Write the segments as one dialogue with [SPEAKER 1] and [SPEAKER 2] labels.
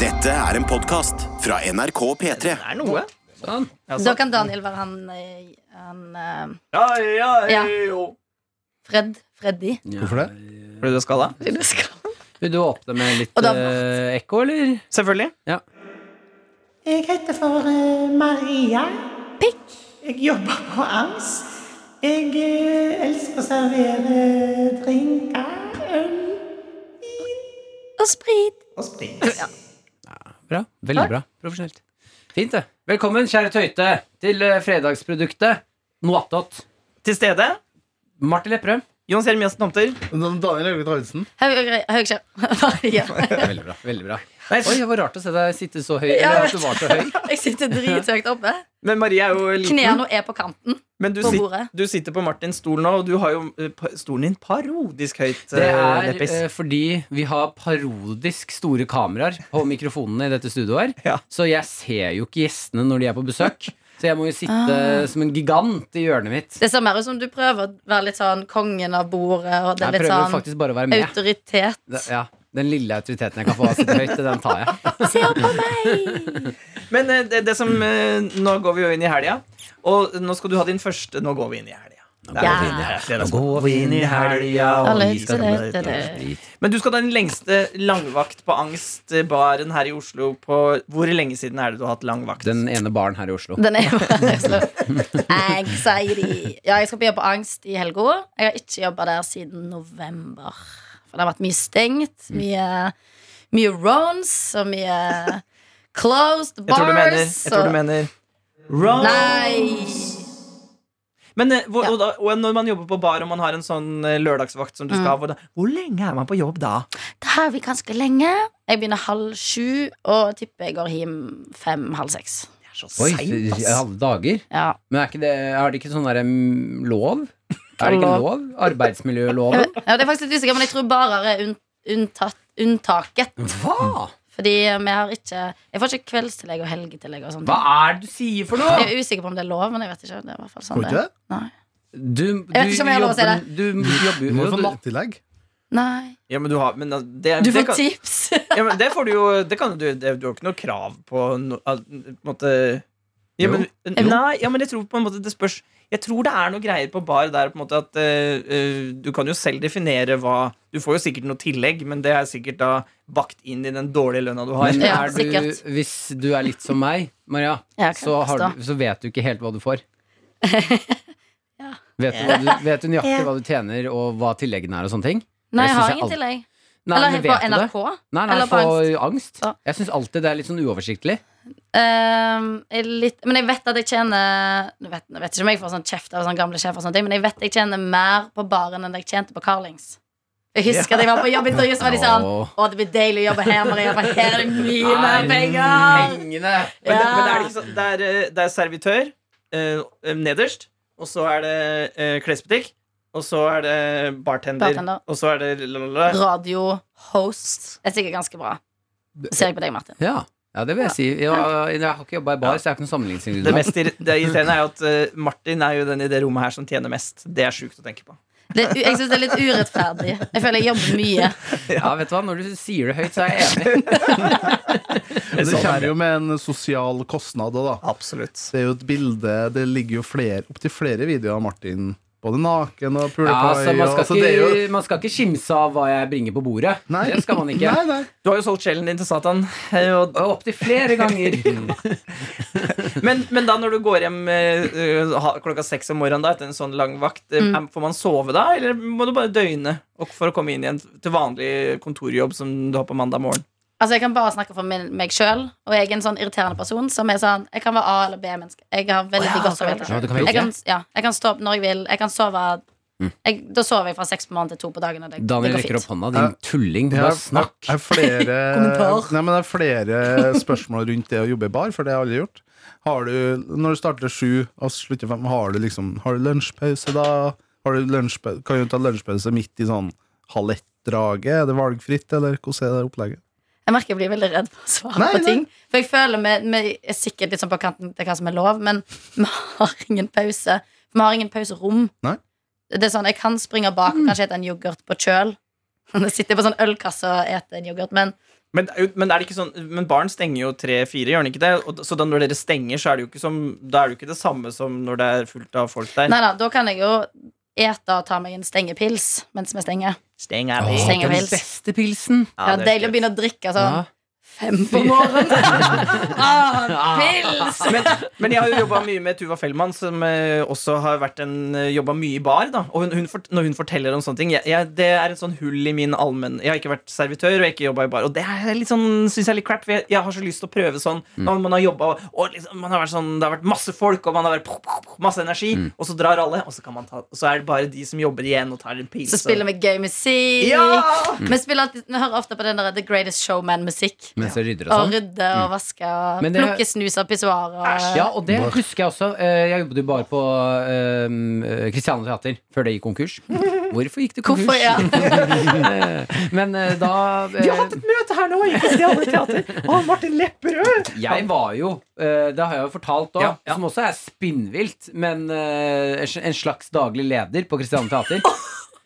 [SPEAKER 1] Dette er en podkast fra NRK P3.
[SPEAKER 2] Det er noe.
[SPEAKER 3] Sånn.
[SPEAKER 2] Altså,
[SPEAKER 4] Da kan Daniel være han, eh, han eh,
[SPEAKER 2] ja, ja,
[SPEAKER 4] Ja.
[SPEAKER 2] jo.
[SPEAKER 4] Fred. Freddy.
[SPEAKER 3] Hvorfor
[SPEAKER 5] det?
[SPEAKER 2] Blir du skalla?
[SPEAKER 3] Vil du åpne med litt
[SPEAKER 4] Og da-
[SPEAKER 3] eh, ekko, eller?
[SPEAKER 2] Selvfølgelig.
[SPEAKER 6] Jeg heter for eh, Maria. Jeg jobber på AMS. Jeg eh, elsker å servere eh, drinker, øl
[SPEAKER 4] Og sprit.
[SPEAKER 6] og sprit.
[SPEAKER 3] Bra. Veldig bra. Profesjonelt. Fint, det. Velkommen, kjære Tøyte, til eh, fredagsproduktet Noatot.
[SPEAKER 2] Til stede
[SPEAKER 3] Martin Lepperød.
[SPEAKER 2] Jon Serim Jensen Tomter.
[SPEAKER 5] Daniel Høgvik Arvidsen.
[SPEAKER 4] Høyre- Høyre- Maria.
[SPEAKER 3] Veldig bra. veldig bra
[SPEAKER 2] Nei,
[SPEAKER 3] Oi, det var rart å se deg sitte så høy.
[SPEAKER 4] Ja,
[SPEAKER 3] Eller
[SPEAKER 4] jeg
[SPEAKER 3] at du var så høy.
[SPEAKER 4] Jeg sitter drithøyt oppe.
[SPEAKER 2] men Marie er jo liten.
[SPEAKER 4] Knærne er på kanten
[SPEAKER 2] Men du,
[SPEAKER 4] på
[SPEAKER 2] sit-
[SPEAKER 4] bordet.
[SPEAKER 2] du sitter på Martins stol nå, og du har jo eh, pa- stolen din parodisk høyt.
[SPEAKER 3] Det
[SPEAKER 2] eh,
[SPEAKER 3] er
[SPEAKER 2] Leppis.
[SPEAKER 3] eh, fordi vi har parodisk store kameraer på mikrofonene i dette studioet her.
[SPEAKER 2] Ja.
[SPEAKER 3] Så jeg ser jo ikke gjestene når de er på besøk. Så jeg må jo sitte
[SPEAKER 4] Ah.
[SPEAKER 3] som en gigant i hjørnet mitt.
[SPEAKER 4] Det ser mer ut som du prøver å være litt sånn kongen av bordet. Og
[SPEAKER 3] Jeg
[SPEAKER 4] det er litt
[SPEAKER 3] prøver
[SPEAKER 4] sånn
[SPEAKER 3] faktisk bare å være med.
[SPEAKER 4] autoritet.
[SPEAKER 3] Det- Ja, den lille autoriteten jeg kan få av å sitte høyt, den tar jeg.
[SPEAKER 4] Se på meg!
[SPEAKER 2] Men eh, det, det som eh, Nå går vi jo inn i helga, og nå skal du ha din første Nå går vi inn i helga. Det er
[SPEAKER 4] Ja.
[SPEAKER 2] jo inn i helga.
[SPEAKER 3] Da går vi inn i helga,
[SPEAKER 4] og vi skal Alle- det- det- det-
[SPEAKER 2] Men du skal ha den lengste langvakt på angstbaren her i Oslo på Hvor lenge siden er det du har hatt langvakt?
[SPEAKER 3] Den ene baren her i Oslo.
[SPEAKER 4] Den er jo Anxiety. Ja, jeg skal på jobb på Angst i helga. Jeg har ikke jobba der siden november. For det har vært mye stengt. Mye, mye roans og mye closed
[SPEAKER 2] jeg tror du mener,
[SPEAKER 4] bars.
[SPEAKER 2] jeg tror du mener.
[SPEAKER 4] og-
[SPEAKER 2] Run.
[SPEAKER 4] Nei!
[SPEAKER 2] Men eh, hvor,
[SPEAKER 4] Ja.
[SPEAKER 2] og, da, og når man jobber på bar og man har en sånn eh, lørdagsvakt som du
[SPEAKER 4] Mm.
[SPEAKER 2] skal ha, hvor, da, hvor lenge er man på jobb da?
[SPEAKER 4] Da har vi ganske lenge. Jeg begynner halv sju og tipper jeg går hjem fem-halv seks.
[SPEAKER 2] Det er så
[SPEAKER 3] Oi,
[SPEAKER 2] seint,
[SPEAKER 3] i
[SPEAKER 2] ass.
[SPEAKER 3] alle dager.
[SPEAKER 4] Ja.
[SPEAKER 3] Men er ikke det, har de ikke sånn derre mm, lov? Er det ikke
[SPEAKER 4] Lov.
[SPEAKER 3] lov? Arbeidsmiljøloven?
[SPEAKER 4] ja, det er faktisk litt usikker, men jeg tror barer er unn- unntatt, unntaket.
[SPEAKER 3] Hva?
[SPEAKER 4] Fordi vi har ikke Jeg får ikke kveldstillegg og helgetillegg og sånt.
[SPEAKER 3] Hva er det du sier for noe?
[SPEAKER 4] Jeg er usikker på om det er lov, men jeg vet ikke. Det er i hvert fall sånn
[SPEAKER 5] Tror du ikke
[SPEAKER 4] det.
[SPEAKER 5] det?
[SPEAKER 4] Nei.
[SPEAKER 3] Du, du,
[SPEAKER 4] Jeg vet ikke om jeg har lov å si
[SPEAKER 3] jobber, du jobber
[SPEAKER 5] Du må
[SPEAKER 3] jo
[SPEAKER 5] jo få
[SPEAKER 3] du-
[SPEAKER 5] nattillegg.
[SPEAKER 4] Nei.
[SPEAKER 2] Ja, men du har men, altså, det,
[SPEAKER 4] Du
[SPEAKER 2] det
[SPEAKER 4] får
[SPEAKER 2] kan,
[SPEAKER 4] tips.
[SPEAKER 2] ja, men det får du jo Det kan du det, Du har ikke noe krav på no, al- på en måte ja,
[SPEAKER 3] Jo.
[SPEAKER 2] men,
[SPEAKER 4] Jo.
[SPEAKER 2] Nei, ja, men jeg tror på en måte det spørs Jeg tror det er noe greier på bar der på en måte at eh, eh, du kan jo selv definere hva Du får jo sikkert noe tillegg, men det er sikkert da bakt inn i den dårlige lønna du har.
[SPEAKER 3] Men
[SPEAKER 4] Ja,
[SPEAKER 3] er du,
[SPEAKER 4] sikkert.
[SPEAKER 3] hvis du er litt som meg, Maria,
[SPEAKER 4] Ja, kan
[SPEAKER 3] så, har
[SPEAKER 4] forstå.
[SPEAKER 3] du, så vet du ikke helt hva du får.
[SPEAKER 4] Ja.
[SPEAKER 3] Vet du, hva du, vet du nøyaktig
[SPEAKER 6] Ja.
[SPEAKER 3] hva du tjener, og hva tilleggene er, og sånne ting?
[SPEAKER 4] Nei, jeg
[SPEAKER 3] synes
[SPEAKER 4] har
[SPEAKER 3] jeg
[SPEAKER 4] ingen
[SPEAKER 3] aldri-
[SPEAKER 4] tillegg.
[SPEAKER 3] Nei,
[SPEAKER 4] Eller
[SPEAKER 3] men
[SPEAKER 4] på
[SPEAKER 3] vet du det?
[SPEAKER 4] NRK.
[SPEAKER 3] Nei, nei,
[SPEAKER 4] Eller
[SPEAKER 3] på
[SPEAKER 4] på
[SPEAKER 3] angst.
[SPEAKER 4] Ja.
[SPEAKER 3] Jeg syns alltid det er litt sånn uoversiktlig.
[SPEAKER 4] Ehm, jeg er litt, men jeg vet at jeg tjener Jeg vet, jeg vet ikke om jeg får sånn kjeft av sånne gamle sjefer, og sånne ting, men jeg vet jeg tjener mer på baren enn jeg tjente på Carlings. Jeg husker at jeg var på jobbintervju, så var de sånn
[SPEAKER 3] Åh.
[SPEAKER 4] Å, det blir deilig å jobbe her, Maria, for her er det mye mer penger.
[SPEAKER 3] Pengene!
[SPEAKER 2] Men, det, men er det,
[SPEAKER 3] liksom-
[SPEAKER 4] Ja.
[SPEAKER 2] ikke sånn, det, er, eh, det er servitør eh, nederst, og så er det eh, klesbutikk, og så er det bartender,
[SPEAKER 4] Bartender.
[SPEAKER 2] og så er det lalala.
[SPEAKER 4] Radiohost er sikkert ganske bra. Ser jeg på deg, Martin.
[SPEAKER 3] Ja. ja, det vil jeg si. Jeg, jeg har ikke jobba i bar, så jeg har ikke noen
[SPEAKER 2] Det
[SPEAKER 3] sammenligningsgrunnlag.
[SPEAKER 2] mest irri- det irriterende er jo at eh, Martin er jo den i det rommet her som tjener mest. Det er sjukt å tenke på.
[SPEAKER 4] Det, jeg syns det er litt urettferdig. Jeg føler jeg jobber mye.
[SPEAKER 3] Ja, vet du hva, når du sier det høyt, så er jeg enig.
[SPEAKER 5] Men det kommer jo med en sosial kostnad òg, da.
[SPEAKER 2] Absolutt.
[SPEAKER 5] Det er jo et bilde Det ligger jo flere, opptil flere videoer av Martin. Både naken og
[SPEAKER 3] Ja,
[SPEAKER 5] pulepai.
[SPEAKER 3] så man, skal
[SPEAKER 5] og- så Altså, det er jo-
[SPEAKER 3] ikke, man skal ikke skimse av hva jeg bringer på bordet.
[SPEAKER 5] Nei.
[SPEAKER 3] Det skal man ikke.
[SPEAKER 5] Nei, nei.
[SPEAKER 2] Du har jo solgt sjelen din til Satan. eh, Og,
[SPEAKER 3] Opptil flere ganger.
[SPEAKER 2] men, men da når du går hjem eh, eh, ha- klokka seks om morgenen da, etter en sånn lang vakt, eh,
[SPEAKER 4] Mm.
[SPEAKER 2] er- får man sove da, eller må du bare døgne og- for å komme inn igjen til vanlig kontorjobb som du har på mandag morgen?
[SPEAKER 4] Altså Jeg kan bare snakke for min, meg sjøl, og jeg er en sånn irriterende person som er sånn Jeg kan være A- eller B-menneske. Jeg har veldig
[SPEAKER 2] Å ja,
[SPEAKER 4] godt
[SPEAKER 2] så
[SPEAKER 4] samvittighet.
[SPEAKER 3] ja, du kan være
[SPEAKER 4] jeg,
[SPEAKER 3] begge.
[SPEAKER 4] kan- ja, jeg kan stå opp når jeg vil. Jeg kan sove jeg, Da sover jeg fra seks på morgenen til to på dagen. Og det,
[SPEAKER 3] Mm.
[SPEAKER 4] det
[SPEAKER 3] Daniel
[SPEAKER 4] går
[SPEAKER 3] rekker opp
[SPEAKER 4] fint.
[SPEAKER 3] hånda. Din tulling.
[SPEAKER 5] Jeg
[SPEAKER 3] Bare
[SPEAKER 5] har,
[SPEAKER 3] snakk.
[SPEAKER 5] jeg har flere,
[SPEAKER 4] Kommentar.
[SPEAKER 5] nei, men det er flere spørsmål rundt det å jobbe i bar, for det har jeg aldri gjort. Har du, når du starter sju og slutter fem, har du, liksom, har du lunsjpause da? Har du lunsjpause, kan du ta lunsjpause midt i sånn halv ett-draget? Er det valgfritt, eller hvordan er det opplegget?
[SPEAKER 4] Jeg merker jeg blir veldig redd for å svare
[SPEAKER 5] Nei,
[SPEAKER 4] på
[SPEAKER 5] nei.
[SPEAKER 4] ting. For jeg føler vi, vi er sikkert litt sånn på kanten til hva som er lov, men vi har ingen pause. Vi har ingen pauserom.
[SPEAKER 5] Nei. Mm.
[SPEAKER 4] Det er sånn, Jeg kan springe bak og kanskje ete en yoghurt på kjøl. Jeg sitter på sånn ølkasse og eter en yoghurt, men
[SPEAKER 2] Men, men, er det ikke sånn, men barn stenger jo tre-fire, gjør de ikke det? Og, så da når dere stenger, så er det jo ikke, som, da er det, jo ikke det samme som når det er fullt av folk der?
[SPEAKER 4] Nei da, da kan jeg jo ete og ta meg en stengepils mens vi stenger.
[SPEAKER 2] Steng er
[SPEAKER 4] Åh, Stenger
[SPEAKER 3] den
[SPEAKER 4] pils.
[SPEAKER 3] beste pilsen.
[SPEAKER 4] Ja, det er deilig å
[SPEAKER 2] fint.
[SPEAKER 4] begynne å drikke sånn
[SPEAKER 3] Ja.
[SPEAKER 4] fem på morgenen. ah, pils!
[SPEAKER 2] men, men jeg har jo jobba mye med Tuva Fellmann, som eh, også har vært en jobba mye i bar. da Og hun, hun fort, når hun forteller om sånne ting jeg, jeg, Det er et sånn hull i min allmenn Jeg har ikke vært servitør, og jeg har ikke jobba i bar. Og det er litt sånn, synes jeg er litt crap, for jeg, jeg har så lyst til å prøve sånn når man har jobba og liksom, man har vært sånn, Det har vært masse folk, og man har vært pop, pop, pop, masse energi, og så drar alle, og så, kan man ta, og så er det bare de som jobber igjen, og tar en pils.
[SPEAKER 4] Så spiller vi gøy musikk.
[SPEAKER 2] Ja!
[SPEAKER 4] Vi, spiller alltid, vi hører ofte på den der The Greatest Showman-musikk.
[SPEAKER 3] Mens det rydder og
[SPEAKER 4] Og
[SPEAKER 3] sånn.
[SPEAKER 4] rydde og vaske og
[SPEAKER 3] Men det-
[SPEAKER 4] plukke snus av pissoarer.
[SPEAKER 3] Ja, og det husker jeg også. Eh, Jeg jobbet jo bare på eh, Christiane Teater før det gikk konkurs. Hvorfor gikk det konkurs?
[SPEAKER 4] Hvorfor, ja.
[SPEAKER 3] Men eh, da eh,
[SPEAKER 2] Vi har hatt et møte her nå i Kristiania Teater! Å, Martin Lepperød!
[SPEAKER 3] Jeg var jo, eh, det har jeg jo fortalt òg,
[SPEAKER 2] Ja, ja.
[SPEAKER 3] som også er spinnvilt, men eh, en slags daglig leder på Christiane Teater.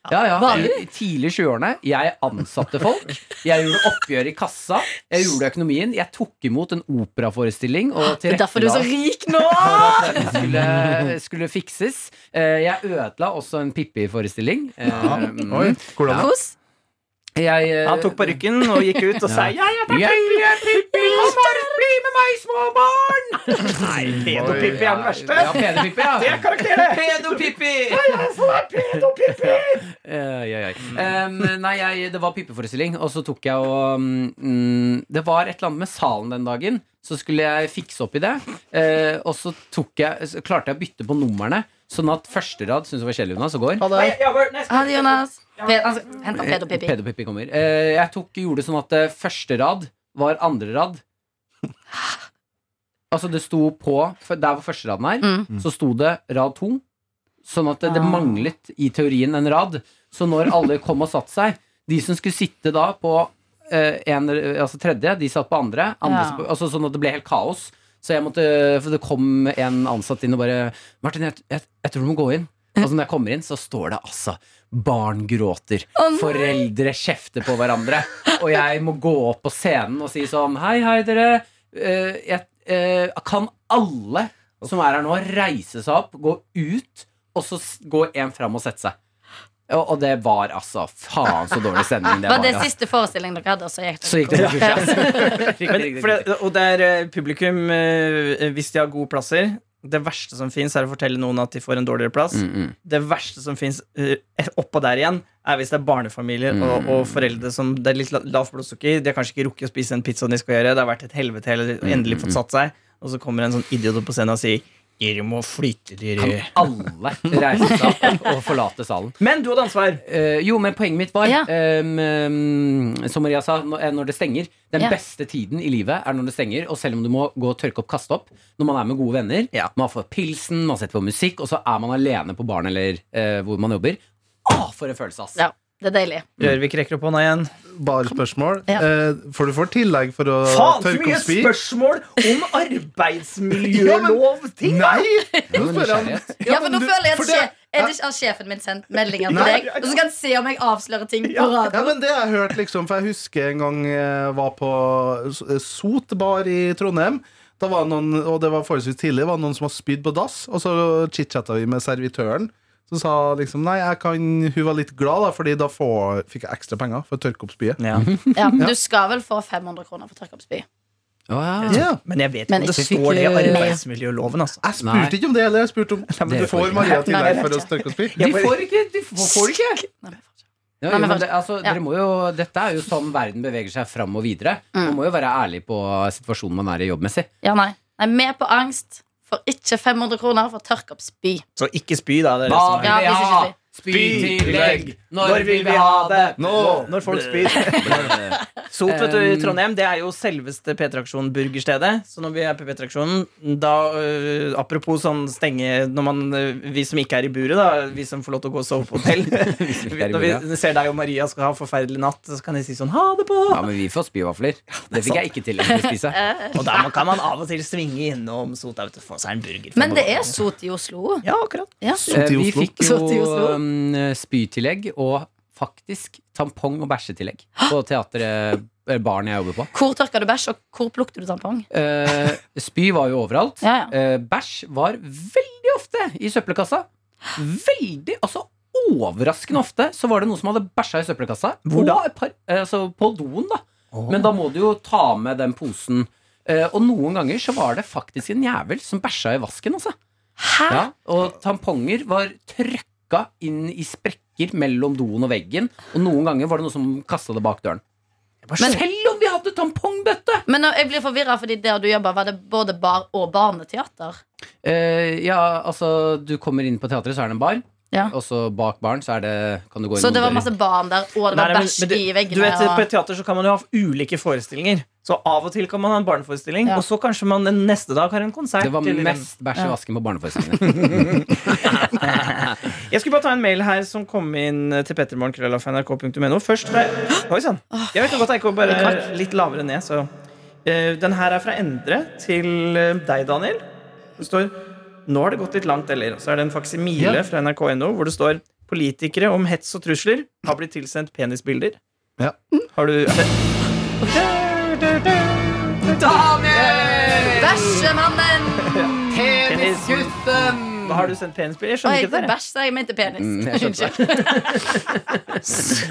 [SPEAKER 3] Ja, ja. I Tidlig i 20-årene. Jeg ansatte folk. Jeg gjorde oppgjør i kassa. Jeg gjorde økonomien. Jeg tok imot en operaforestilling.
[SPEAKER 2] Ah,
[SPEAKER 3] Og
[SPEAKER 4] Det er derfor du er så
[SPEAKER 3] tilrettela-
[SPEAKER 4] rik nå!
[SPEAKER 3] for at den skulle, skulle fikses. Eh, Jeg ødela også en Pippi-forestilling. Eh, mm.
[SPEAKER 5] Oi, hvordan
[SPEAKER 4] Kos.
[SPEAKER 3] Jeg eh,
[SPEAKER 2] Han tok parykken og gikk ut og sa ja, ja, det
[SPEAKER 3] Jeg
[SPEAKER 2] er Pippi! Kom bare, bli med meg, små barn! Nei, Pedo-Pippi er den verste.
[SPEAKER 3] Ja, Pedopippi, ja.
[SPEAKER 2] Det er karakter, det!
[SPEAKER 3] Pedopippi! Eh, ja, ja. Em, nei, jeg, det var pippeforestilling, og så tok jeg og mm, Det var et eller annet med salen den dagen, så skulle jeg fikse opp i det. eh, og så, tok jeg, så klarte jeg å bytte på numrene, sånn at første rad syns det var kjedelig, Jonas, og går.
[SPEAKER 5] Ha det.
[SPEAKER 4] Ha det, Jonas. Pe- altså, Hent opp Pedo Pippi.
[SPEAKER 3] Pedopippi kommer. Eh, jeg tok, gjorde det sånn at eh, første rad var andre rad. Altså det sto på for Der hvor første raden er,
[SPEAKER 4] Mm. Ah.
[SPEAKER 3] så sto det rad to. Sånn at det, det manglet i teorien en rad. Så når alle kom og satte seg De som skulle sitte da på eh, en, altså tredje, de satt på andre. andre
[SPEAKER 4] Ja.
[SPEAKER 3] på, altså Sånn at det ble helt kaos. Så jeg måtte, for det kom en ansatt inn og bare 'Martin, jeg, jeg, jeg tror du må gå inn.' Og så når jeg kommer inn, så står det altså Barn gråter.
[SPEAKER 4] Å, nei.
[SPEAKER 3] Foreldre kjefter på hverandre. Og jeg må gå opp på scenen og si sånn Hei, hei, dere. Eh, jeg, eh, kan alle som er her nå, reise seg opp, gå ut, og så s- gå en fram og sette seg? Og, og det var altså faen så dårlig stemning det
[SPEAKER 4] Var
[SPEAKER 3] var.
[SPEAKER 4] det
[SPEAKER 3] ja.
[SPEAKER 4] siste forestillingen dere hadde? og Så gikk
[SPEAKER 3] Så
[SPEAKER 4] det
[SPEAKER 3] gikk det konkurs, ja. Riktig,
[SPEAKER 2] Men,
[SPEAKER 3] riktig,
[SPEAKER 2] for
[SPEAKER 3] riktig.
[SPEAKER 2] det, og det er eh, publikum, eh, hvis de har gode plasser Det verste som fins, er å fortelle noen at de får en dårligere plass.
[SPEAKER 3] Mm, mm.
[SPEAKER 2] Det verste som fins oppå der igjen, er hvis det er barnefamilier og, og foreldre som det er litt la- lavt blodsukker. De har kanskje ikke rukket å spise den pizzaen de skal gjøre. Det har vært et helvete hele og endelig fått satt seg. Og så kommer en sånn idiot opp på scenen og sier dere må flytte dere.
[SPEAKER 3] Alle reiste seg opp og forlate salen.
[SPEAKER 2] Men du hadde ansvar.
[SPEAKER 3] Eh, jo, men poenget mitt var,
[SPEAKER 4] Ja.
[SPEAKER 3] ehm, ehm, som Maria sa, nå- eh, når det stenger Den
[SPEAKER 4] Ja.
[SPEAKER 3] beste tiden i livet er når det stenger, og selv om du må gå og tørke opp, kaste opp, når man er med gode venner,
[SPEAKER 2] Ja.
[SPEAKER 3] man får pilsen, man setter på musikk, og så er man alene på baren eller eh, hvor man jobber. Å, for en følelse, ass!
[SPEAKER 4] Ja, det er deilig.
[SPEAKER 2] Rørvik rekker opp hånda igjen.
[SPEAKER 5] Bare spørsmål.
[SPEAKER 4] Ja.
[SPEAKER 5] Eh, For du får tillegg for å
[SPEAKER 2] Faen, så
[SPEAKER 5] tørke
[SPEAKER 2] mye
[SPEAKER 5] opp spy.
[SPEAKER 2] spørsmål om arbeidsmiljølovting!
[SPEAKER 5] Nei!
[SPEAKER 3] Ja,
[SPEAKER 5] Nå
[SPEAKER 3] men
[SPEAKER 5] spør han.
[SPEAKER 3] nysgjerrighet.
[SPEAKER 4] Ja, for nå
[SPEAKER 5] men du-
[SPEAKER 4] føler jeg at
[SPEAKER 5] for det-
[SPEAKER 4] sje- er det ikke- har sjefen min sendt meldinger til
[SPEAKER 5] Nei.
[SPEAKER 4] deg, og så kan han se om jeg avslører ting på
[SPEAKER 5] Ja,
[SPEAKER 4] radioen.
[SPEAKER 5] men det har jeg hørt, liksom. For jeg husker en gang jeg var på S- Sot bar i Trondheim. Da var det noen, og det var forholdsvis tidlig, var det noen som hadde spydd på dass, og så chit-chatta vi med servitøren. Så sa liksom Nei, jeg kan Hun var litt glad, da, Fordi da får, fikk jeg ekstra penger for å tørke opp spyet.
[SPEAKER 2] Ja.
[SPEAKER 4] Ja, du skal vel få 500 kroner for å tørke opp spy.
[SPEAKER 3] Å, ja.
[SPEAKER 5] Ja.
[SPEAKER 2] Men jeg vet ikke
[SPEAKER 4] Men
[SPEAKER 2] om det
[SPEAKER 4] ikke
[SPEAKER 2] står det i
[SPEAKER 3] fikk, eh,
[SPEAKER 2] arbeidsmiljøloven. Altså.
[SPEAKER 5] Jeg spurte
[SPEAKER 3] Nei.
[SPEAKER 5] ikke om det heller. Jeg spurte om
[SPEAKER 3] men
[SPEAKER 5] Du
[SPEAKER 3] det får
[SPEAKER 5] får
[SPEAKER 3] ikke.
[SPEAKER 5] Maria
[SPEAKER 4] Nei, nei,
[SPEAKER 5] tillegg for å
[SPEAKER 4] det får
[SPEAKER 5] tørke opp spy.
[SPEAKER 3] De får ikke! De får, får det ikke!
[SPEAKER 4] Nei, men fortsatt.
[SPEAKER 3] Ja, jo,
[SPEAKER 4] Nei, men
[SPEAKER 3] men
[SPEAKER 4] faktisk-
[SPEAKER 3] det, altså,
[SPEAKER 4] ja.
[SPEAKER 3] dere må jo, dette er jo sånn verden beveger seg fram og videre.
[SPEAKER 4] Mm.
[SPEAKER 3] Man må jo være ærlig på situasjonen man er i jobbmessig.
[SPEAKER 4] Ja, nei. Nei, med på angst. For ikke 500 kroner for å tørke opp spy.
[SPEAKER 2] Så ikke spy, da. Dere
[SPEAKER 3] Hva
[SPEAKER 2] som
[SPEAKER 4] Ja,
[SPEAKER 2] er.
[SPEAKER 3] vil vi
[SPEAKER 4] hvis
[SPEAKER 3] ha?
[SPEAKER 4] ikke
[SPEAKER 3] Spytillegg! Når vil vi ha det?
[SPEAKER 5] Nå!
[SPEAKER 2] Når folk spyr. Sot vet du, i Trondheim det er jo selveste P3-aksjonen burgerstedet. Så når vi er på P3-aksjonen da, øh, Apropos sånn stenge når man, øh, Vi som ikke er i buret, da. Vi som får lov til å gå og sove på hotell.
[SPEAKER 3] som ikke er i
[SPEAKER 2] når
[SPEAKER 3] buret,
[SPEAKER 2] vi ser deg og Maria skal ha forferdelig natt, så kan de si sånn ha det på.
[SPEAKER 3] Ja, men vi får spyvafler. Det fikk jeg ikke til å spise. Eh,
[SPEAKER 2] Og da må- kan man av og til svinge innom Sot da, vet du, få seg en burger.
[SPEAKER 4] Men det er sot i Oslo.
[SPEAKER 2] Ja, akkurat.
[SPEAKER 4] Ja.
[SPEAKER 5] Sot i
[SPEAKER 3] Vi
[SPEAKER 5] Oslo.
[SPEAKER 3] fikk
[SPEAKER 4] Sot i
[SPEAKER 3] jo
[SPEAKER 4] Oslo.
[SPEAKER 3] um, spytillegg og faktisk tampong og bæsjetillegg på teaterbaren jeg jobber på.
[SPEAKER 4] Hvor tørka du bæsj, og hvor plukket du tampong?
[SPEAKER 3] Eh, spy var jo overalt.
[SPEAKER 4] Ja, ja.
[SPEAKER 3] Eh, bæsj var veldig ofte i søppelkassa. Veldig, altså Overraskende ofte så var det noen som hadde bæsja i søppelkassa.
[SPEAKER 2] Hvor da?
[SPEAKER 3] Og et par, eh, altså på doen, da. Men da må du jo ta med den posen. Eh, og noen ganger så var det faktisk en jævel som bæsja i vasken, altså.
[SPEAKER 4] Hæ?
[SPEAKER 3] Ja, og tamponger var trøkka inn i sprekker mellom doen og veggen. Og noen ganger var det noen som kasta det bak døren.
[SPEAKER 4] Men-
[SPEAKER 3] selv om vi hadde tampongbøtte!
[SPEAKER 4] Men nå- jeg blir forvirra, fordi der du jobba, var det både bar og barneteater.
[SPEAKER 3] Eh, ja, altså, du kommer inn på teatret, så er det en bar.
[SPEAKER 4] Ja.
[SPEAKER 3] Og så bak baren så er det Kan du gå inn
[SPEAKER 4] Så det var
[SPEAKER 3] noen
[SPEAKER 4] masse barn der, og det
[SPEAKER 2] Nei,
[SPEAKER 4] var
[SPEAKER 2] nei, men-
[SPEAKER 4] bæsj
[SPEAKER 2] men du-
[SPEAKER 4] i
[SPEAKER 2] Du
[SPEAKER 4] veggene.
[SPEAKER 2] vet, På
[SPEAKER 4] og-
[SPEAKER 2] et teater så kan man jo ha ulike forestillinger. Så av og til kan man ha en barneforestilling,
[SPEAKER 4] Ja.
[SPEAKER 2] og så kanskje man den neste dag har en konsert.
[SPEAKER 3] dører. Det var
[SPEAKER 2] eller en-
[SPEAKER 3] mest bæsj i vasken på barneforestillingene.
[SPEAKER 2] Jeg skulle bare ta en mail her som kom inn til pettermorgenkrøllalfa.nrk.no. Først fra Oi sann. Jeg vet jo godt jeg ikke bare er litt lavere ned, så Eh, Den her er fra Endre til eh, deg, Daniel. Det står Nå har det gått litt langt, eller? Så er det en faksimile
[SPEAKER 3] Ja.
[SPEAKER 2] fra nrk.no hvor det står Politikere om hets og trusler har blitt tilsendt penisbilder.
[SPEAKER 5] Ja.
[SPEAKER 2] Har du altså,
[SPEAKER 4] Bæsjemannen!
[SPEAKER 2] Penisgutten! Hva har du sendt penisbilder? Jeg
[SPEAKER 4] Og
[SPEAKER 2] skjønner
[SPEAKER 4] jeg
[SPEAKER 2] ikke
[SPEAKER 4] heter
[SPEAKER 2] det.
[SPEAKER 4] bæsj, så jeg mente penis.
[SPEAKER 3] Mm, jeg skjønte
[SPEAKER 4] Unnskyld.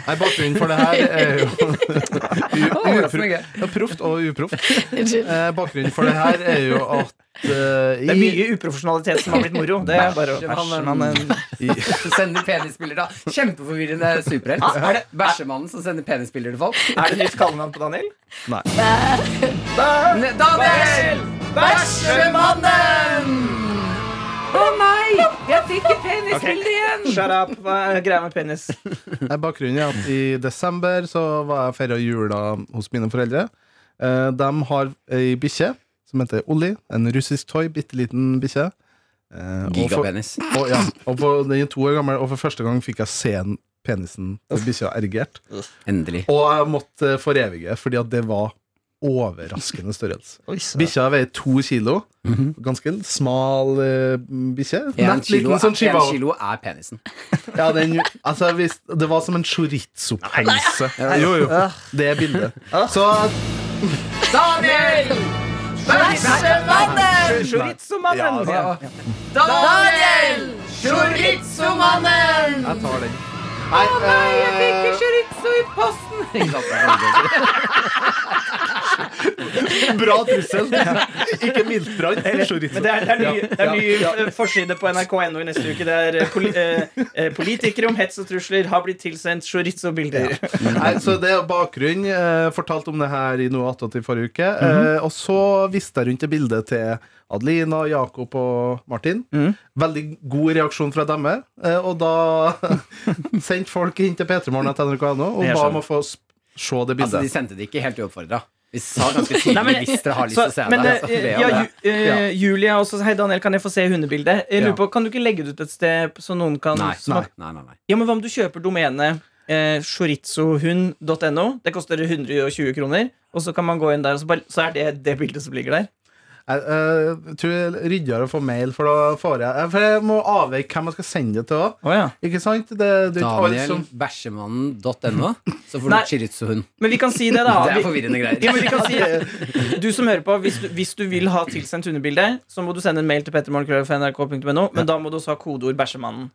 [SPEAKER 5] Nei, bakgrunnen for det her er jo u-
[SPEAKER 3] Overraskende gøy.
[SPEAKER 5] uproft. Ja, Proft og uproft.
[SPEAKER 4] Unnskyld.
[SPEAKER 5] Eh, bakgrunnen for det her er jo at eh,
[SPEAKER 2] Det er
[SPEAKER 5] i,
[SPEAKER 2] mye uprofesjonalitet som har blitt moro. Det er bare å
[SPEAKER 3] Bæsjemannen.
[SPEAKER 2] Bæsjemannen.
[SPEAKER 5] i,
[SPEAKER 3] Sender penisbilder, da. Kjempeforvirrende superhelt.
[SPEAKER 2] Ah.
[SPEAKER 3] Er det bæsjemannen som sender penisbilder til folk?
[SPEAKER 2] Er det nytt kallenavn på Daniel?
[SPEAKER 5] Nei.
[SPEAKER 3] Ne- Daniel! Bæsjemannen! Å nei! Jeg fikk et penisbilde igjen!
[SPEAKER 2] Shut up. Hva er greia med penis?
[SPEAKER 5] Nei, eh, Bakgrunnen er at i desember så var jeg feira jula hos mine foreldre. Eh, De har ei bikkje som heter Olli. En russisk toy, bitte liten bikkje. Eh, og for-
[SPEAKER 3] Gigapenis.
[SPEAKER 5] Og, ja, og på, den er to år gammel, og for første gang fikk jeg se en penisen til bikkja erigert.
[SPEAKER 3] Endelig.
[SPEAKER 5] Og jeg måtte eh, forevige, fordi at det var overraskende størrelse. Bikkja veier to kilo. Ganske smal uh, bikkje.
[SPEAKER 3] En
[SPEAKER 5] Nett
[SPEAKER 3] kilo,
[SPEAKER 5] liten sånn
[SPEAKER 3] er, en
[SPEAKER 5] chihuahua.
[SPEAKER 3] kilo er penisen.
[SPEAKER 5] Ja, den, altså, jeg visste- det var som en chorizo-pølse. Jo, jo. Det er bildet.
[SPEAKER 3] Ah.
[SPEAKER 5] Så
[SPEAKER 3] Daniel!
[SPEAKER 5] eh,
[SPEAKER 4] Bæsjemannen!
[SPEAKER 2] Chorizo-mannen.
[SPEAKER 5] Ja,
[SPEAKER 4] Daniel! Chorizo-mannen!
[SPEAKER 5] jeg tar den. Nei, eh,
[SPEAKER 3] chorizo i posten!
[SPEAKER 5] bra trussel. Ikke miltbrann.
[SPEAKER 2] Men det
[SPEAKER 5] Chorizo.
[SPEAKER 2] er, det er ny, det er ny eh, forside på nrk.no i neste uke. Det er eh, poli, eh, eh, politikere om hets og trusler har blitt tilsendt chorizo-bilder.
[SPEAKER 5] Nei, så det er bakgrunn. Eh, fortalt om det her i noe attåt i forrige uke. Eh, og så viste jeg rundt det bildet til Adelina, Jakob og Martin. Veldig god reaksjon fra dem. Eh, og da sendte folk inn til p3morgen.nrk.no og
[SPEAKER 2] Jeg
[SPEAKER 5] ba om
[SPEAKER 2] skjønner.
[SPEAKER 5] å få s- se det bildet.
[SPEAKER 3] Altså, de sendte det ikke helt uoppfordra. Vi sa ganske tydelig
[SPEAKER 2] Nei, men-
[SPEAKER 3] hvis dere har lyst
[SPEAKER 2] Så,
[SPEAKER 3] til å se
[SPEAKER 2] men
[SPEAKER 3] det.
[SPEAKER 2] eh,
[SPEAKER 3] så be om
[SPEAKER 2] ja,
[SPEAKER 3] det.
[SPEAKER 2] ju, eh, Julia også Hei, Daniel, kan jeg få se hundebildet? Jeg lurer
[SPEAKER 5] Ja.
[SPEAKER 2] på, Kan du ikke legge det ut et sted, så noen kan
[SPEAKER 3] Nei,
[SPEAKER 2] smak-
[SPEAKER 3] nei, nei, nei.
[SPEAKER 2] Ja, men Hva om du kjøper domenet eh, chorizohund.no? Det koster 120 kroner. Og så kan man gå inn der, og så, bare, så er det det bildet som ligger der.
[SPEAKER 5] Jeg eh, tror jeg er ryddigere å få mail, for da får jeg eh, For jeg må avveie hvem jeg skal sende det til òg.
[SPEAKER 2] Oh, ja.
[SPEAKER 5] Ikke sant? Det, liksom- det er ikke alle
[SPEAKER 3] Daniel
[SPEAKER 5] som
[SPEAKER 3] sånn bæsjemannen.no, så får
[SPEAKER 2] Nei.
[SPEAKER 3] du chorizo-hund.
[SPEAKER 2] Men vi kan si det, da.
[SPEAKER 3] Det er
[SPEAKER 2] Vi-
[SPEAKER 3] forvirrende
[SPEAKER 2] Ja, men
[SPEAKER 3] greier.
[SPEAKER 2] vi kan si, du som hører på, hvis du, hvis du vil ha tilsendt hundebilde, så må du sende en mail til pettermorgenkrøllalfa.nrk.no, men da må du også ha kodeord 'bæsjemannen'.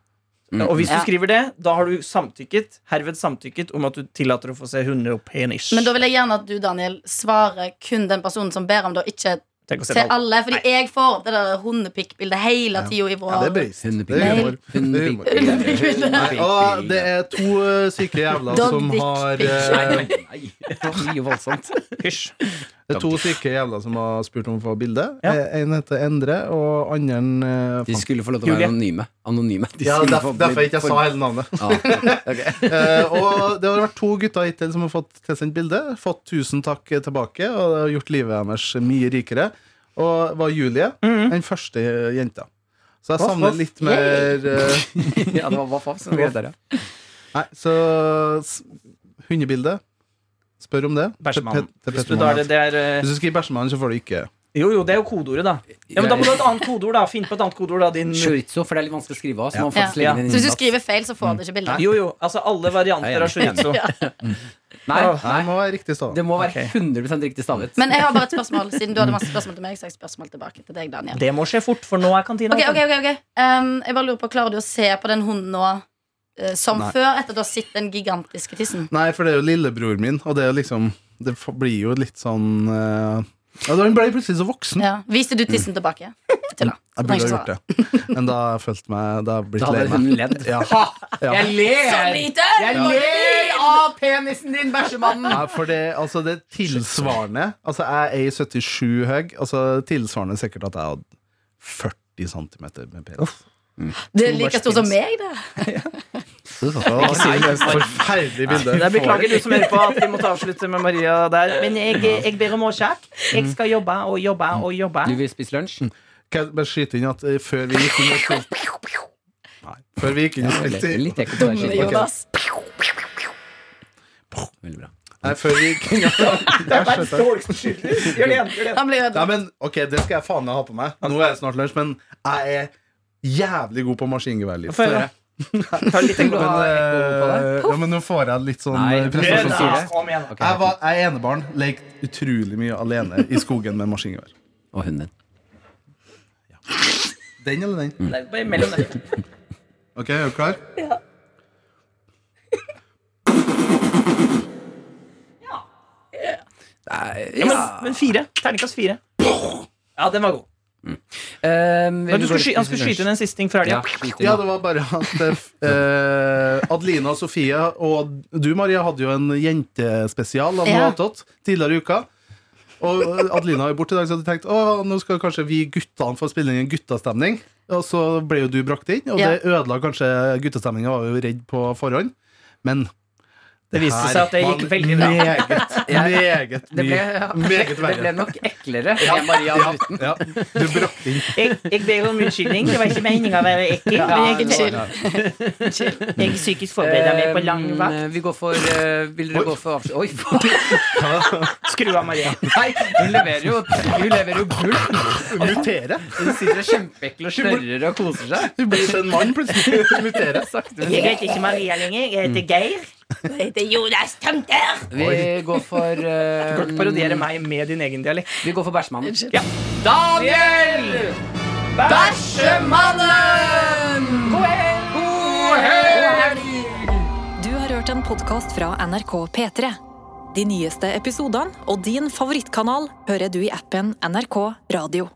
[SPEAKER 2] Og hvis du
[SPEAKER 4] Mm. Ja.
[SPEAKER 2] skriver det, da har du samtykket herved samtykket om at du tillater å få se hunde og penis.
[SPEAKER 4] Men da vil jeg gjerne at du, Daniel, svarer kun den personen som ber om det, og ikke
[SPEAKER 2] Tenk å se
[SPEAKER 4] til
[SPEAKER 2] på alt.
[SPEAKER 4] alle. Fordi jeg får opp det der hundepikkbildet hele tida i
[SPEAKER 5] Ja, det er
[SPEAKER 4] vår.
[SPEAKER 5] beist. Det er humor.
[SPEAKER 4] Hundepikkbilde.
[SPEAKER 5] Det er humor. Nei, Og det er to eh, syke jævler
[SPEAKER 4] Dog
[SPEAKER 5] som
[SPEAKER 4] dick
[SPEAKER 5] har
[SPEAKER 4] pic.
[SPEAKER 5] eh,
[SPEAKER 3] Nei, det var mye voldsomt.
[SPEAKER 2] Hysj.
[SPEAKER 5] Det er to syke jævler som har spurt om å få bilde.
[SPEAKER 2] Ja.
[SPEAKER 5] Eh, En heter Endre, og andren eh,
[SPEAKER 3] De
[SPEAKER 5] faen.
[SPEAKER 3] skulle få lov til å
[SPEAKER 2] Julie.
[SPEAKER 3] være anonyme. Anonyme. De
[SPEAKER 5] Ja,
[SPEAKER 3] skulle
[SPEAKER 5] derf-
[SPEAKER 3] få bli-
[SPEAKER 5] derfor jeg ikke
[SPEAKER 3] for-
[SPEAKER 5] sa hele navnet.
[SPEAKER 3] Ja, ok.
[SPEAKER 5] Eh, og det har vært to gutter hittil som har fått tilsendt bilde. Fått tusen takk tilbake, og det har gjort livet deres mye rikere. Og det var Julie
[SPEAKER 4] Mhm.
[SPEAKER 5] den første jenta. Så jeg
[SPEAKER 2] Voff,
[SPEAKER 5] savner
[SPEAKER 2] voff.
[SPEAKER 5] litt mer eh,
[SPEAKER 3] ja, det var hva faen som skjedde der, ja.
[SPEAKER 5] Nei, så s- hundebilde. Spør om det.
[SPEAKER 2] Bæsjemannen.
[SPEAKER 5] Til Pet- til
[SPEAKER 2] Hvis du,
[SPEAKER 5] Petter
[SPEAKER 2] da er
[SPEAKER 5] Morgen.
[SPEAKER 2] det, det er, eh,
[SPEAKER 5] Hvis du skriver bæsjemannen, så får du ikke
[SPEAKER 2] Jo, jo, det er jo kodeordet, da. Ja, men Da må du ha et annet kodeord, da. Finn på et annet kodeord, da, din
[SPEAKER 3] Chorizo, for det er litt vanskelig å skrive av. Så må man
[SPEAKER 4] Ja.
[SPEAKER 3] faktisk legge inn
[SPEAKER 4] Så hvis du
[SPEAKER 3] innsats.
[SPEAKER 4] skriver feil, så
[SPEAKER 5] Mm.
[SPEAKER 4] får du ikke bildet.
[SPEAKER 2] Jo, jo. Altså alle varianter av chorizo.
[SPEAKER 3] Nei,
[SPEAKER 5] Det
[SPEAKER 3] nei,
[SPEAKER 5] må være riktig stav.
[SPEAKER 3] det må være
[SPEAKER 2] Ok.
[SPEAKER 3] 100 riktig stavet.
[SPEAKER 4] Men jeg har bare et spørsmål, siden du hadde masse spørsmål til meg. Så har jeg spørsmål tilbake til deg, Daniel.
[SPEAKER 2] Det må skje fort, for nå er kantina
[SPEAKER 4] Ok,
[SPEAKER 2] åpen.
[SPEAKER 4] ok, ok, ok Ehm, Jeg bare lurer på, Klarer du å se på den hunden nå eh, som
[SPEAKER 5] Nei.
[SPEAKER 4] før, etter at du har sett den gigantiske tissen?
[SPEAKER 5] Nei, for det er jo lillebror min, og det er jo liksom Det f- blir jo litt sånn eh, ja, da Han ble plutselig så voksen.
[SPEAKER 4] Ja. Viste du tissen tilbake? Til da.
[SPEAKER 5] Mm. Jeg burde ha gjort det. Men da har jeg følt meg Da har jeg blitt
[SPEAKER 3] Da
[SPEAKER 5] lei
[SPEAKER 3] hadde
[SPEAKER 5] meg.
[SPEAKER 3] hun ledd.
[SPEAKER 5] Ja. Ja.
[SPEAKER 3] Jeg ler!
[SPEAKER 4] Så liten!
[SPEAKER 3] Jeg ler av penisen din, bæsjemannen!
[SPEAKER 5] Nei, for det, altså det tilsvarende Altså jeg er 1,77 høy. Altså tilsvarende sikkert at jeg hadde 40 cm med penis.
[SPEAKER 4] Det er like stor som meg, det.
[SPEAKER 5] Det er det mest forferdelige bildet.
[SPEAKER 2] Jeg beklager du som hører på at vi måtte avslutte med Maria der. Men jeg, jeg ber om årsak. Jeg skal jobbe og jobbe og jobbe.
[SPEAKER 3] Du vil spise lunsj?
[SPEAKER 5] Kan jeg bare skyte inn at eh, før vi gikk inn og spilte Nei, før vi gikk inn og spilte
[SPEAKER 3] Litt ekko på deg.
[SPEAKER 4] Dumme
[SPEAKER 3] Kjell.
[SPEAKER 4] Jonas.
[SPEAKER 3] Veldig bra.
[SPEAKER 5] Nei, før vi gikk inn
[SPEAKER 2] Det er bare folk som skylder. Gjør det igjen. gjør det igjen.
[SPEAKER 4] Han blir
[SPEAKER 5] Nei,
[SPEAKER 4] ødelagt.
[SPEAKER 5] men ok, det skal jeg faen meg ha på meg. Nå er det snart lunsj, men jeg er jævlig god på maskingeværliv.
[SPEAKER 2] Få høre. Ta litt
[SPEAKER 5] Men,
[SPEAKER 2] ekko.
[SPEAKER 5] eh, ja, men nå får jeg litt sånn
[SPEAKER 3] Nei,
[SPEAKER 5] eh,
[SPEAKER 2] Ja,
[SPEAKER 5] prestasjonssorg.
[SPEAKER 2] Kom igjen.
[SPEAKER 5] Jeg, var, jeg er enebarn, lekte utrolig mye alene i skogen med maskingevær.
[SPEAKER 3] Og hunden din.
[SPEAKER 5] Den eller den?
[SPEAKER 2] Nei, bare imellom det.
[SPEAKER 5] Ok, er du klar?
[SPEAKER 2] Ja, men, men fire. Terningkast fire. Ja, den var god.
[SPEAKER 3] eh,
[SPEAKER 2] Men du skulle, sky- han skulle skyte inn en siste ting før helga.
[SPEAKER 3] Ja, skyte
[SPEAKER 5] Ja,
[SPEAKER 3] inn.
[SPEAKER 5] det var bare at eh, Adelina og Sofie og du, Maria, hadde jo en jentespesial av
[SPEAKER 4] Ja.
[SPEAKER 5] Noatot tidligere i uka. Og Adelina er borte i dag, så hadde jeg tenkt å, nå skal kanskje vi guttene få spille inn en guttastemning. Og så ble jo du brakt inn, og
[SPEAKER 4] Ja.
[SPEAKER 5] det ødela kanskje guttastemninga. Var jo redd på forhånd. Men
[SPEAKER 2] Det viste seg at det
[SPEAKER 5] her
[SPEAKER 2] gikk
[SPEAKER 5] var
[SPEAKER 2] veldig bra.
[SPEAKER 5] Meget,
[SPEAKER 3] Det
[SPEAKER 5] meget
[SPEAKER 3] ble,
[SPEAKER 5] mye. Meget
[SPEAKER 3] det ble
[SPEAKER 5] verre.
[SPEAKER 3] nok eklere med Maria
[SPEAKER 5] Ja,
[SPEAKER 3] Duten.
[SPEAKER 5] ja, du brakte inn.
[SPEAKER 2] Jeg, jeg ber om unnskyldning. Det var ikke meninga å være ekkel. Men jeg,
[SPEAKER 4] Unnskyld.
[SPEAKER 2] jeg er psykisk forbereder meg på lang
[SPEAKER 3] Eh,
[SPEAKER 2] vakt.
[SPEAKER 3] Vi går for eh, Vil dere
[SPEAKER 5] Oi.
[SPEAKER 3] gå for avsl- Oi, faen.
[SPEAKER 2] Skru av, Maria.
[SPEAKER 3] Nei, hun leverer jo Hun leverer jo bull.
[SPEAKER 5] Mutere.
[SPEAKER 3] Hun sitter og kjempeekkel og snørrer og koser seg.
[SPEAKER 5] Du blir til en mann plutselig. Mutere.
[SPEAKER 3] Sakte, men
[SPEAKER 2] Jeg
[SPEAKER 3] sikkert.
[SPEAKER 2] heter ikke Maria lenger. Jeg heter Geir. Jeg heter Jonas Tømter.
[SPEAKER 3] Vi går for eh,
[SPEAKER 2] Du kan ikke parodiere meg med din egen dialekt.
[SPEAKER 3] Vi går for bæsjemannen.
[SPEAKER 4] Unnskyld.
[SPEAKER 2] Ja.
[SPEAKER 3] Daniel! Bæsjemannen! God helg!
[SPEAKER 7] Du har hørt en podkast fra NRK P3. De nyeste episodene og din favorittkanal hører du i appen NRK Radio.